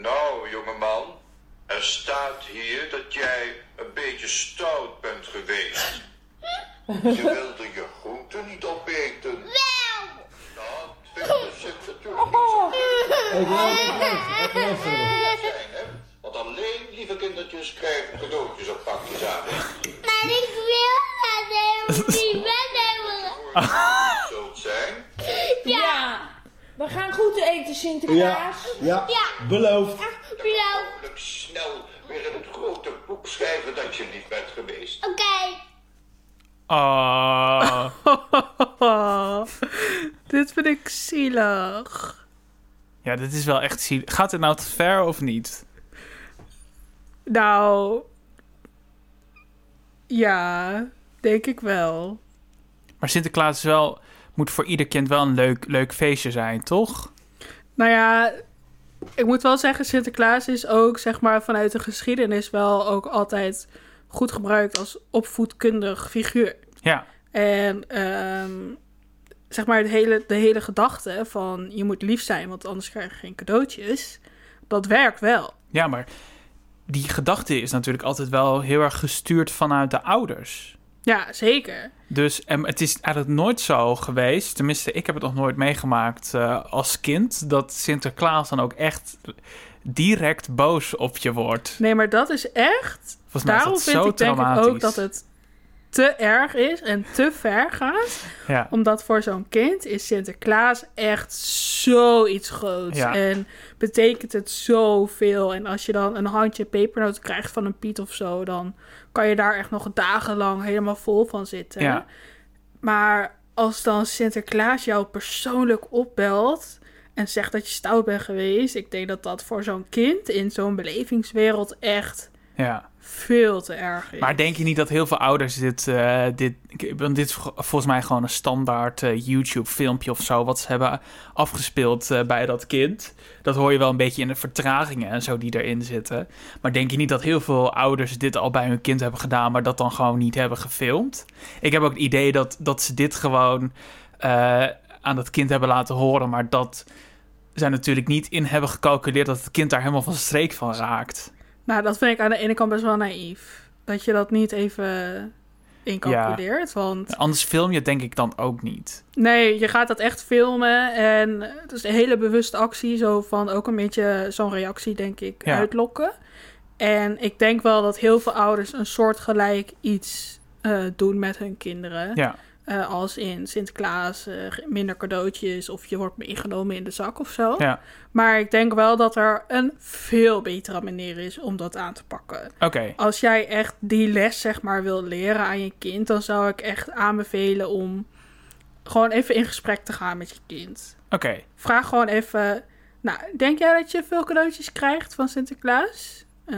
Speaker 3: Nou, jongeman, er staat hier dat jij een beetje stout bent geweest. Je wilde je groenten niet opeten.
Speaker 4: Wel!
Speaker 3: Dat vinden ze natuurlijk niet zo
Speaker 5: Ik wil het echt, echt luisteren.
Speaker 3: fijn, hè? Want alleen lieve kindertjes krijgen cadeautjes op pakjes aan.
Speaker 4: Maar ik wil dat helemaal niet wegnemen.
Speaker 3: Zo het zijn.
Speaker 6: Ja. We gaan goed eten,
Speaker 5: Ja,
Speaker 6: Sinterklaas.
Speaker 5: ja,
Speaker 4: Ja.
Speaker 5: beloofd.
Speaker 4: Nou,
Speaker 3: Hopelijk snel weer in het grote boek schrijven dat je lief bent geweest.
Speaker 4: oké.
Speaker 1: Ah.
Speaker 2: [LAUGHS] Dit vind ik zielig.
Speaker 1: [LAUGHS] Ja, dit is wel echt zielig. Gaat het nou te ver of niet?
Speaker 2: Nou, ja, denk ik wel.
Speaker 1: Maar Sinterklaas is wel, moet voor ieder kind wel een leuk, leuk feestje zijn, toch?
Speaker 2: Nou ja, ik moet wel zeggen, Sinterklaas is ook, zeg maar, vanuit de geschiedenis wel ook altijd goed gebruikt als opvoedkundig figuur.
Speaker 1: Ja,
Speaker 2: En ehm, zeg maar, de hele, de hele gedachte van je moet lief zijn, want anders krijg je geen cadeautjes, dat werkt wel.
Speaker 1: ja maar die gedachte is natuurlijk altijd wel heel erg gestuurd vanuit de ouders.
Speaker 2: Ja, zeker.
Speaker 1: Dus en het is eigenlijk nooit zo geweest, tenminste ik heb het nog nooit meegemaakt eh, als kind, dat Sinterklaas dan ook echt direct boos op je wordt.
Speaker 2: Nee, maar dat is echt
Speaker 1: Volgens mij is
Speaker 2: Daarom
Speaker 1: dat
Speaker 2: vind
Speaker 1: zo
Speaker 2: ik denk ik
Speaker 1: traumatisch.
Speaker 2: ook dat het te erg is en te ver gaat.
Speaker 1: Ja,
Speaker 2: Omdat voor zo'n kind is Sinterklaas echt zoiets groots.
Speaker 1: Ja.
Speaker 2: En betekent het zoveel. En als je dan een handje pepernoten krijgt van een Piet of zo... dan kan je daar echt nog dagenlang helemaal vol van zitten.
Speaker 1: ja.
Speaker 2: Maar als dan Sinterklaas jou persoonlijk opbelt en zegt dat je stout bent geweest... ik denk dat dat voor zo'n kind in zo'n belevingswereld echt
Speaker 1: ja.
Speaker 2: veel te erg is.
Speaker 1: Maar denk je niet dat heel veel ouders dit... eh, dit ik- want dit is vo- volgens mij gewoon een standaard eh, YouTube-filmpje of zo... wat ze hebben afgespeeld eh, bij dat kind. Dat hoor je wel een beetje in de vertragingen en zo die erin zitten. Maar denk je niet dat heel veel ouders dit al bij hun kind hebben gedaan... maar dat dan gewoon niet hebben gefilmd? Ik heb ook het idee dat, dat ze dit gewoon eh, aan dat kind hebben laten horen... maar dat zij natuurlijk niet in hebben gecalculeerd... dat het kind daar helemaal van streek van raakt.
Speaker 2: Nou, dat vind ik aan de ene kant best wel naïef. Dat je dat niet even incalculeert. Want
Speaker 1: Anders film je het denk ik dan ook niet.
Speaker 2: nee, je gaat dat echt filmen. En het is een hele bewuste actie. Zo van ook een beetje zo'n reactie, denk ik,
Speaker 1: Ja.
Speaker 2: uitlokken. En ik denk wel dat heel veel ouders een soortgelijk iets eh, doen met hun kinderen.
Speaker 1: Ja.
Speaker 2: Eh, als in Sinterklaas, eh, minder cadeautjes of je wordt meegenomen in de zak of zo.
Speaker 1: Ja,
Speaker 2: Maar ik denk wel dat er een veel betere manier is om dat aan te pakken.
Speaker 1: oké.
Speaker 2: als jij echt die les zeg maar wil leren aan je kind, dan zou ik echt aanbevelen om gewoon even in gesprek te gaan met je kind.
Speaker 1: Oké.
Speaker 2: Vraag gewoon even, nou, denk jij dat je veel cadeautjes krijgt van Sinterklaas? Eh,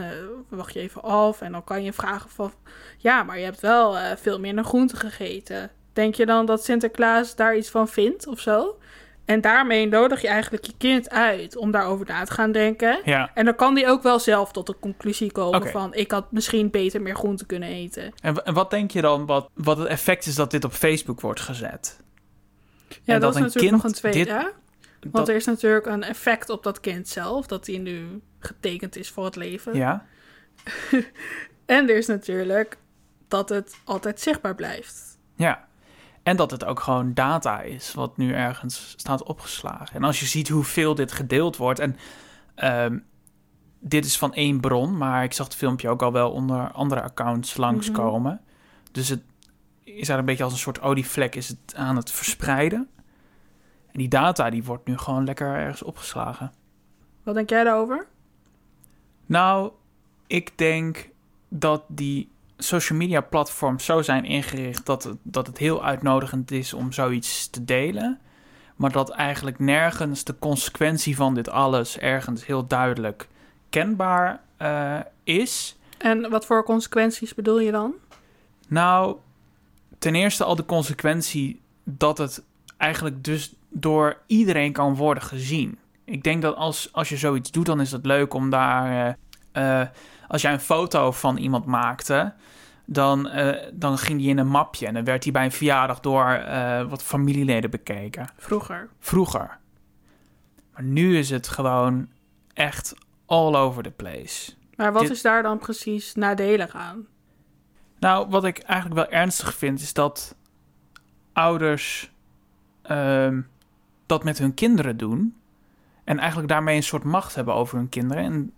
Speaker 2: wacht je even af en dan kan je vragen van, ja, maar je hebt wel eh, veel minder groente gegeten. Denk je dan dat Sinterklaas daar iets van vindt of zo? En daarmee nodig je eigenlijk je kind uit om daarover na te gaan denken.
Speaker 1: Ja.
Speaker 2: En dan kan die ook wel zelf tot de conclusie komen
Speaker 1: Oké.
Speaker 2: van... ik had misschien beter meer groente kunnen eten.
Speaker 1: En, w- en wat denk je dan wat, wat het effect is dat dit op Facebook wordt gezet?
Speaker 2: Ja,
Speaker 1: En
Speaker 2: dat,
Speaker 1: dat
Speaker 2: is
Speaker 1: een
Speaker 2: natuurlijk
Speaker 1: kind
Speaker 2: nog een tweede.
Speaker 1: dit-
Speaker 2: hè?
Speaker 1: Dat,
Speaker 2: Want er is natuurlijk een effect op dat kind zelf... dat hij nu getekend is voor het leven.
Speaker 1: Ja,
Speaker 2: En er is natuurlijk dat het altijd zichtbaar blijft.
Speaker 1: ja. En dat het ook gewoon data is, wat nu ergens staat opgeslagen. En als je ziet hoeveel dit gedeeld wordt... en ehm, dit is van één bron, maar ik zag het filmpje ook al wel onder andere accounts langskomen. Dus het is eigenlijk een beetje als een soort olievlek is het aan het verspreiden. En die data die wordt nu gewoon lekker ergens opgeslagen.
Speaker 2: Wat denk jij daarover?
Speaker 1: Nou, ik denk dat die social media platforms zo zijn ingericht dat het, dat het heel uitnodigend is om zoiets te delen. Maar dat eigenlijk nergens de consequentie van dit alles ergens heel duidelijk kenbaar eh, is.
Speaker 2: En wat voor consequenties bedoel je dan?
Speaker 1: Nou, ten eerste al de consequentie dat het eigenlijk dus door iedereen kan worden gezien. Ik denk dat als, als je zoiets doet, dan is het leuk om daar. eh, eh, als jij een foto van iemand maakte, dan, eh, dan ging die in een mapje. En dan werd die bij een verjaardag door eh, wat familieleden bekeken
Speaker 2: Vroeger.
Speaker 1: vroeger. Maar nu is het gewoon echt all over the place.
Speaker 2: Maar wat
Speaker 1: Dit-
Speaker 2: is daar dan precies nadelig aan?
Speaker 1: Nou, wat ik eigenlijk wel ernstig vind, is dat ouders ehm, dat met hun kinderen doen. En eigenlijk daarmee een soort macht hebben over hun kinderen. En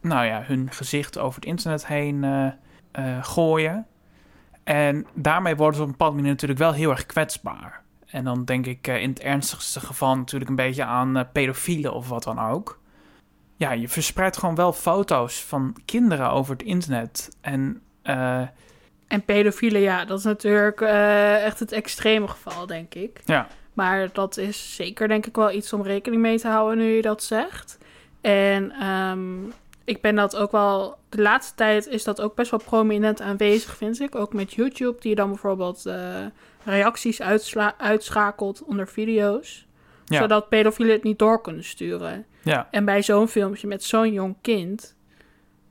Speaker 1: nou ja, hun gezicht over het internet heen eh, eh, gooien. En daarmee worden ze op een bepaalde manier natuurlijk wel heel erg kwetsbaar. En dan denk ik eh, in het ernstigste geval natuurlijk een beetje aan eh, pedofielen of wat dan ook ja, je verspreidt gewoon wel foto's van kinderen over het internet. En eh,
Speaker 2: En pedofielen, ja, dat is natuurlijk eh, echt het extreme geval, denk ik.
Speaker 1: ja,
Speaker 2: Maar dat is zeker, denk ik, wel iets om rekening mee te houden nu je dat zegt. En ehm, ik ben dat ook wel. De laatste tijd is dat ook best wel prominent aanwezig, vind ik. Ook met YouTube, die dan bijvoorbeeld eh, reacties uitsla- uitschakelt onder video's.
Speaker 1: ja,
Speaker 2: Zodat pedofielen het niet door kunnen sturen.
Speaker 1: ja,
Speaker 2: En bij zo'n filmpje met zo'n jong kind.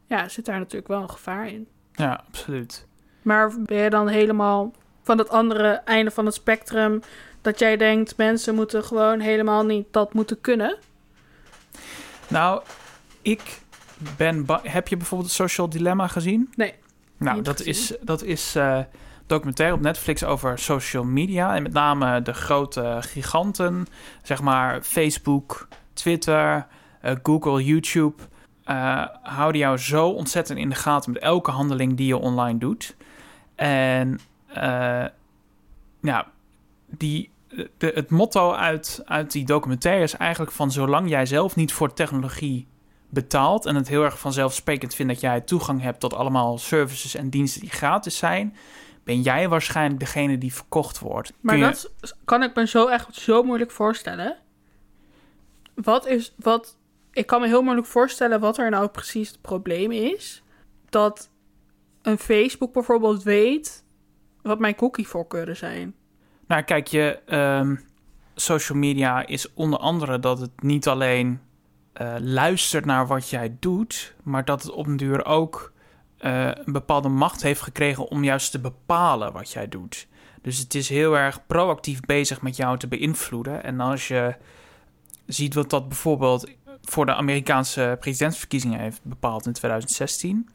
Speaker 2: Ja, zit daar natuurlijk wel een gevaar in.
Speaker 1: ja, absoluut.
Speaker 2: Maar ben je dan helemaal van het andere einde van het spectrum dat jij denkt mensen moeten gewoon helemaal niet dat moeten kunnen?
Speaker 1: Nou, ik ben ba- Heb je bijvoorbeeld het Social Dilemma gezien?
Speaker 2: Nee,
Speaker 1: Nou,
Speaker 2: niet
Speaker 1: dat
Speaker 2: gezien.
Speaker 1: is, dat is eh documentaire op Netflix over social media. En met name de grote giganten. Zeg maar Facebook, Twitter, eh, Google, YouTube. eh, houden jou zo ontzettend in de gaten met elke handeling die je online doet. En eh, nou, die, de, het motto uit, uit die documentaire is eigenlijk van zolang jij zelf niet voor technologie betaalt en het heel erg vanzelfsprekend vindt dat jij toegang hebt tot allemaal services en diensten die gratis zijn, ben jij waarschijnlijk degene die verkocht wordt.
Speaker 2: maar
Speaker 1: Kun je-
Speaker 2: dat s- kan ik me zo echt zo moeilijk voorstellen. Wat is wat? Ik kan me heel moeilijk voorstellen wat er nou precies het probleem is. Dat een Facebook bijvoorbeeld weet wat mijn cookievoorkeuren zijn.
Speaker 1: Nou, kijk, je ehm, social media is onder andere dat het niet alleen eh, luistert naar wat jij doet, maar dat het op een duur ook eh, een bepaalde macht heeft gekregen om juist te bepalen wat jij doet. Dus het is heel erg proactief bezig met jou te beïnvloeden. En als je ziet wat dat bijvoorbeeld voor de Amerikaanse presidentsverkiezingen heeft bepaald in 2016.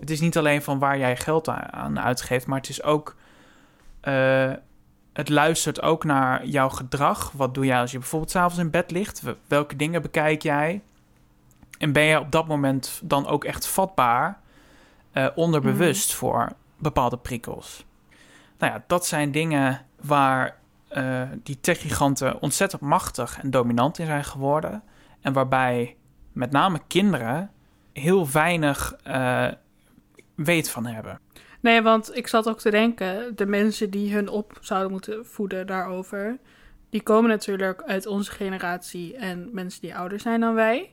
Speaker 1: Het is niet alleen van waar jij geld a- aan uitgeeft, maar het is ook eh, het luistert ook naar jouw gedrag. Wat doe jij als je bijvoorbeeld s'avonds in bed ligt? We- Welke dingen bekijk jij? En ben je op dat moment dan ook echt vatbaar, eh, onderbewust voor bepaalde prikkels? Nou ja, dat zijn dingen waar eh, die techgiganten ontzettend machtig en dominant in zijn geworden. En waarbij met name kinderen heel weinig eh, weet van hebben.
Speaker 2: Nee, want ik zat ook te denken, de mensen die hun op zouden moeten voeden daarover, die komen natuurlijk uit onze generatie en mensen die ouder zijn dan wij.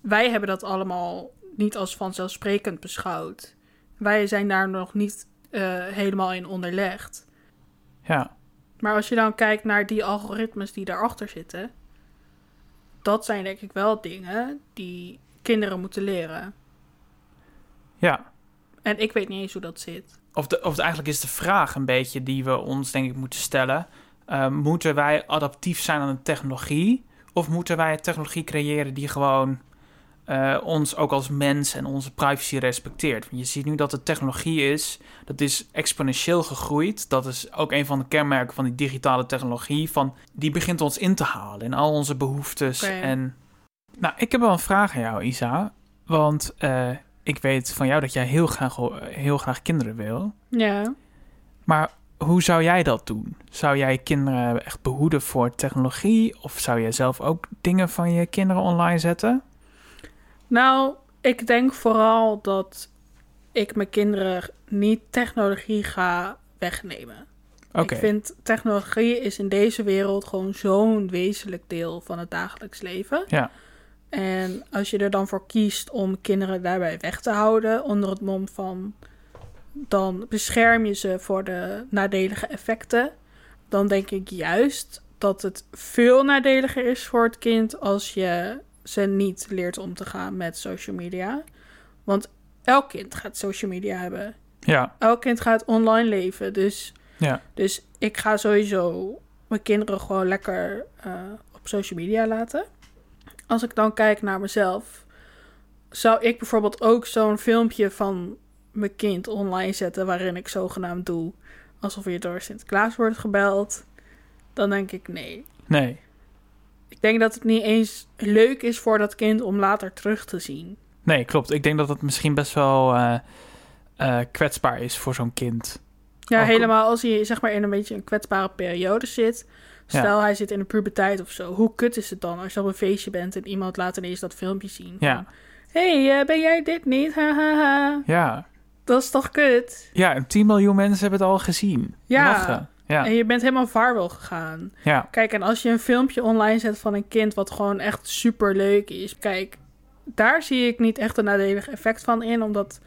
Speaker 2: Wij hebben dat allemaal niet als vanzelfsprekend beschouwd. Wij zijn daar nog niet eh, helemaal in onderlegd.
Speaker 1: Ja,
Speaker 2: Maar als je dan kijkt naar die algoritmes die daarachter zitten, dat zijn denk ik wel dingen die kinderen moeten leren.
Speaker 1: ja.
Speaker 2: En ik weet niet eens hoe dat zit.
Speaker 1: of, de, of het eigenlijk is de vraag een beetje die we ons denk ik moeten stellen. Eh, moeten wij adaptief zijn aan de technologie? Of moeten wij technologie creëren die gewoon eh, ons ook als mens en onze privacy respecteert? Want je ziet nu dat de technologie is, dat is exponentieel gegroeid. Dat is ook een van de kenmerken van die digitale technologie. Van, die begint ons in te halen in al onze behoeftes.
Speaker 2: Oké.
Speaker 1: En, nou, ik heb wel een vraag aan jou, Isa. Want eh, ik weet van jou dat jij heel graag, eh, heel graag kinderen wil.
Speaker 2: Ja.
Speaker 1: Maar hoe zou jij dat doen? Zou jij kinderen echt behoeden voor technologie? Of zou jij zelf ook dingen van je kinderen online zetten?
Speaker 2: Nou, ik denk vooral dat ik mijn kinderen niet technologie ga wegnemen.
Speaker 1: Oké,
Speaker 2: Ik vind technologie is in deze wereld gewoon zo'n wezenlijk deel van het dagelijks leven.
Speaker 1: Ja.
Speaker 2: En als je er dan voor kiest om kinderen daarbij weg te houden onder het mom van dan bescherm je ze voor de nadelige effecten, dan denk ik juist dat het veel nadeliger is voor het kind als je ze niet leert om te gaan met social media. Want elk kind gaat social media hebben.
Speaker 1: ja,
Speaker 2: Elk kind gaat online leven. Dus
Speaker 1: ja,
Speaker 2: dus ik ga sowieso mijn kinderen gewoon lekker eh, op social media laten. Als ik dan kijk naar mezelf, zou ik bijvoorbeeld ook zo'n filmpje van mijn kind online zetten waarin ik zogenaamd doe alsof je door Sinterklaas wordt gebeld, dan denk ik nee.
Speaker 1: Nee.
Speaker 2: Ik denk dat het niet eens leuk is voor dat kind om later terug te zien.
Speaker 1: Nee, klopt. Ik denk dat dat misschien best wel eh, eh, kwetsbaar is voor zo'n kind.
Speaker 2: Ja,
Speaker 1: Oh, cool.
Speaker 2: helemaal als hij zeg maar in een beetje een kwetsbare periode zit. Stel hij zit in de puberteit of zo. Hoe kut is het dan als je op een feestje bent en iemand laat ineens dat filmpje zien? van,
Speaker 1: Ja.
Speaker 2: hey, eh, ben jij dit niet? Hahaha.
Speaker 1: Ja.
Speaker 2: Dat is toch kut?
Speaker 1: Ja, en 10 miljoen mensen hebben het al gezien.
Speaker 2: Ja.
Speaker 1: Lachen. Ja.
Speaker 2: En je bent helemaal vaarwel gegaan.
Speaker 1: Ja.
Speaker 2: Kijk, en als je een filmpje online zet van een kind wat gewoon echt super leuk is. Kijk, daar zie ik niet echt een nadelig effect van in. Omdat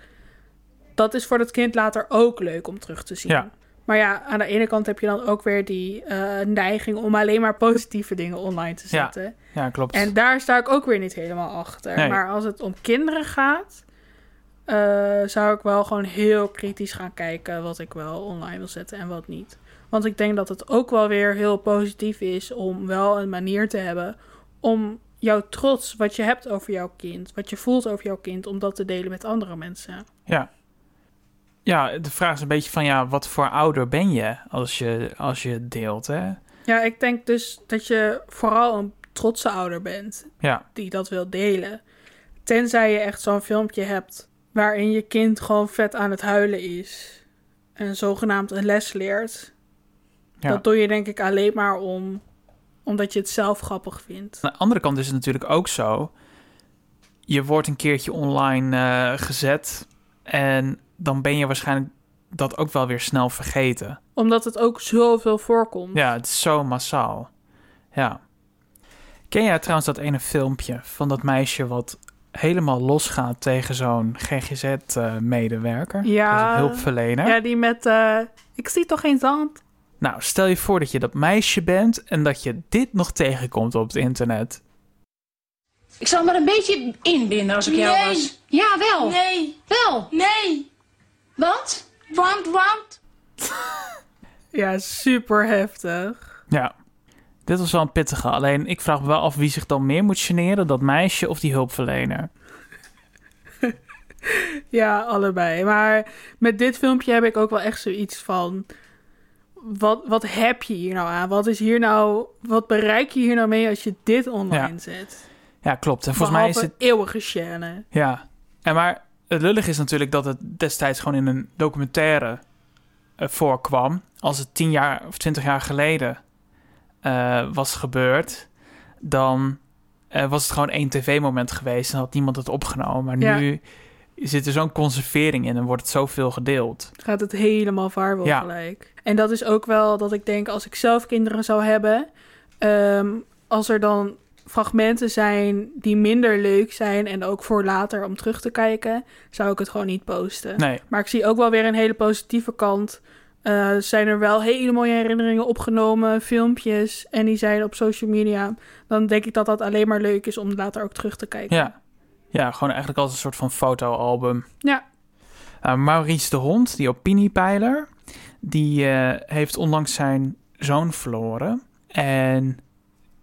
Speaker 2: dat is voor dat kind later ook leuk om terug te zien.
Speaker 1: Ja.
Speaker 2: Maar ja, aan de ene kant heb je dan ook weer die eh, neiging om alleen maar positieve dingen online te
Speaker 1: Ja.
Speaker 2: zetten.
Speaker 1: Ja, klopt.
Speaker 2: En daar sta ik ook weer niet helemaal achter.
Speaker 1: Nee.
Speaker 2: Maar als het om kinderen gaat, eh, zou ik wel gewoon heel kritisch gaan kijken wat ik wel online wil zetten en wat niet. Want ik denk dat het ook wel weer heel positief is om wel een manier te hebben om jouw trots, wat je hebt over jouw kind, wat je voelt over jouw kind, om dat te delen met andere mensen.
Speaker 1: Ja. Ja, de vraag is een beetje van ja, wat voor ouder ben je als je, als je deelt, hè?
Speaker 2: Ja, ik denk dus dat je vooral een trotse ouder bent.
Speaker 1: Ja,
Speaker 2: die dat wil delen. Tenzij je echt zo'n filmpje hebt waarin je kind gewoon vet aan het huilen is en zogenaamd een les leert.
Speaker 1: ja.
Speaker 2: Dat doe je denk ik alleen maar om omdat je het zelf grappig vindt.
Speaker 1: Aan de andere kant is het natuurlijk ook zo. Je wordt een keertje online eh, gezet. En dan ben je waarschijnlijk dat ook wel weer snel vergeten.
Speaker 2: Omdat het ook zoveel voorkomt.
Speaker 1: Ja, het is zo massaal. Ja. Ken jij trouwens dat ene filmpje van dat meisje wat helemaal losgaat tegen zo'n eh, GGZ-medewerker?
Speaker 2: Ja.
Speaker 1: Hulpverlener.
Speaker 2: Ja, die met eh, ik zie toch geen zand.
Speaker 1: Nou, stel je voor dat je dat meisje bent en dat je dit nog tegenkomt op het internet.
Speaker 7: Ik zal maar een beetje inbinden als ik jou
Speaker 5: Nee.
Speaker 7: was. Ja, wel.
Speaker 5: Nee,
Speaker 7: Wel.
Speaker 5: nee,
Speaker 7: Want?
Speaker 5: want, want.
Speaker 2: Ja, super heftig.
Speaker 1: Ja, dit was wel een pittige. Alleen ik vraag me wel af wie zich dan meer moet generen: dat meisje of die hulpverlener.
Speaker 2: Ja, allebei. Maar met dit filmpje heb ik ook wel echt zoiets van. Wat, wat heb je hier nou aan? Wat is hier nou. Wat bereik je hier nou mee als je dit online
Speaker 1: Ja.
Speaker 2: zet?
Speaker 1: Ja, klopt. En volgens mij is
Speaker 2: Behalve
Speaker 1: het.
Speaker 2: eeuwige chaîne.
Speaker 1: Ja, en maar het lullig is natuurlijk dat het destijds gewoon in een documentaire eh, voorkwam. Als het tien jaar of twintig jaar geleden eh, was gebeurd, dan eh, was het gewoon één tv-moment geweest en had niemand het opgenomen. Maar
Speaker 2: Ja.
Speaker 1: nu zit er zo'n conservering in en wordt het zoveel gedeeld.
Speaker 2: Gaat het helemaal vaarwel
Speaker 1: Ja.
Speaker 2: gelijk. En dat is ook wel dat ik denk als ik zelf kinderen zou hebben. ehm, als er dan fragmenten zijn die minder leuk zijn en ook voor later om terug te kijken, zou ik het gewoon niet posten.
Speaker 1: Nee,
Speaker 2: Maar ik zie ook wel weer een hele positieve kant. Eh, zijn er wel hele mooie herinneringen opgenomen, filmpjes en die zijn op social media. Dan denk ik dat dat alleen maar leuk is om later ook terug te kijken.
Speaker 1: ja. Ja, gewoon eigenlijk als een soort van fotoalbum.
Speaker 2: Ja.
Speaker 1: Eh, Maurice de Hond, die opiniepeiler, die eh, heeft onlangs zijn zoon verloren. En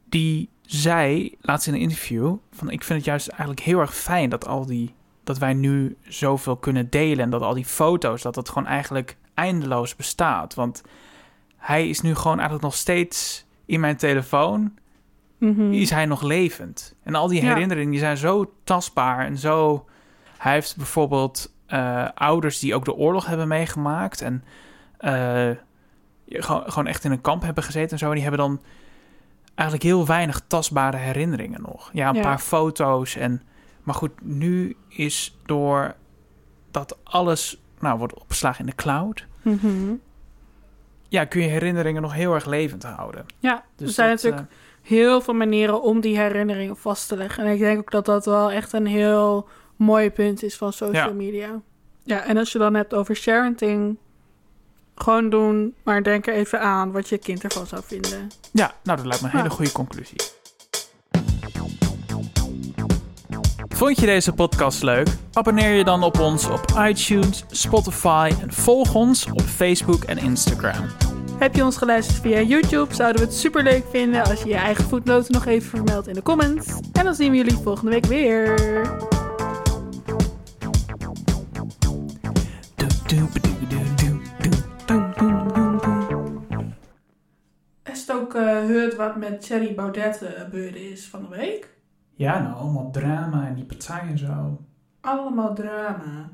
Speaker 1: die zei laatst in een interview: van ik vind het juist eigenlijk heel erg fijn dat al die dat wij nu zoveel kunnen delen en dat al die foto's dat dat gewoon eigenlijk eindeloos bestaat. Want hij is nu gewoon eigenlijk nog steeds in mijn telefoon.
Speaker 2: Mhm.
Speaker 1: Is hij nog levend? En al die
Speaker 2: Ja.
Speaker 1: herinneringen die zijn zo tastbaar en zo. Hij heeft bijvoorbeeld eh, ouders die ook de oorlog hebben meegemaakt en eh, gewoon, gewoon echt in een kamp hebben gezeten en zo. En die hebben dan eigenlijk heel weinig tastbare herinneringen nog. Ja, een
Speaker 2: Ja.
Speaker 1: paar foto's en. Maar goed, nu is door dat alles nou, wordt opgeslagen in de cloud.
Speaker 2: Mhm.
Speaker 1: Ja, kun je herinneringen nog heel erg levend houden.
Speaker 2: Ja,
Speaker 1: Dus
Speaker 2: er zijn
Speaker 1: dat,
Speaker 2: natuurlijk heel veel manieren om die herinneringen vast te leggen. En ik denk ook dat dat wel echt een heel mooi punt is van social
Speaker 1: Ja.
Speaker 2: media. Ja, en als je dan hebt over sharenting, gewoon doen, maar denk er even aan wat je kind ervan zou vinden.
Speaker 1: Ja, nou dat lijkt me een hele
Speaker 2: Ja.
Speaker 1: goede conclusie. Vond je deze podcast leuk? Abonneer je dan op ons op iTunes, Spotify en volg ons op Facebook en Instagram.
Speaker 2: Heb je ons geluisterd via YouTube? Zouden we het super leuk vinden als je je eigen voetnoten nog even vermeldt in de comments. En dan zien we jullie volgende week weer. Is het ook eh heard wat met Thierry Baudet eh, gebeurd is van de week?
Speaker 1: Ja, nou, allemaal drama en die partij en zo.
Speaker 2: Allemaal drama.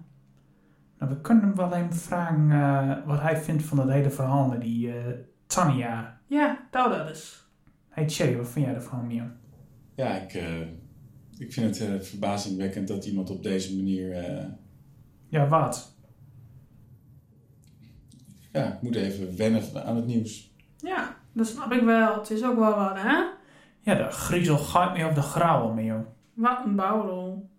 Speaker 1: Nou, we kunnen hem wel even vragen eh, wat hij vindt van dat hele verhaal met die eh, Tania.
Speaker 2: Ja, nou dat is.
Speaker 1: Hey Thierry, wat vind jij ervan, Mian?
Speaker 8: Ja, ik, eh, ik vind het eh, verbazingwekkend dat iemand op deze manier. eh,
Speaker 1: Ja, wat?
Speaker 8: ja, ik moet even wennen aan het nieuws.
Speaker 2: Ja, dat snap ik wel. Het is ook wel wat, hè?
Speaker 1: Ja, de griezel gaat mee op de grauwe, Mian.
Speaker 2: Wat een bouwrol.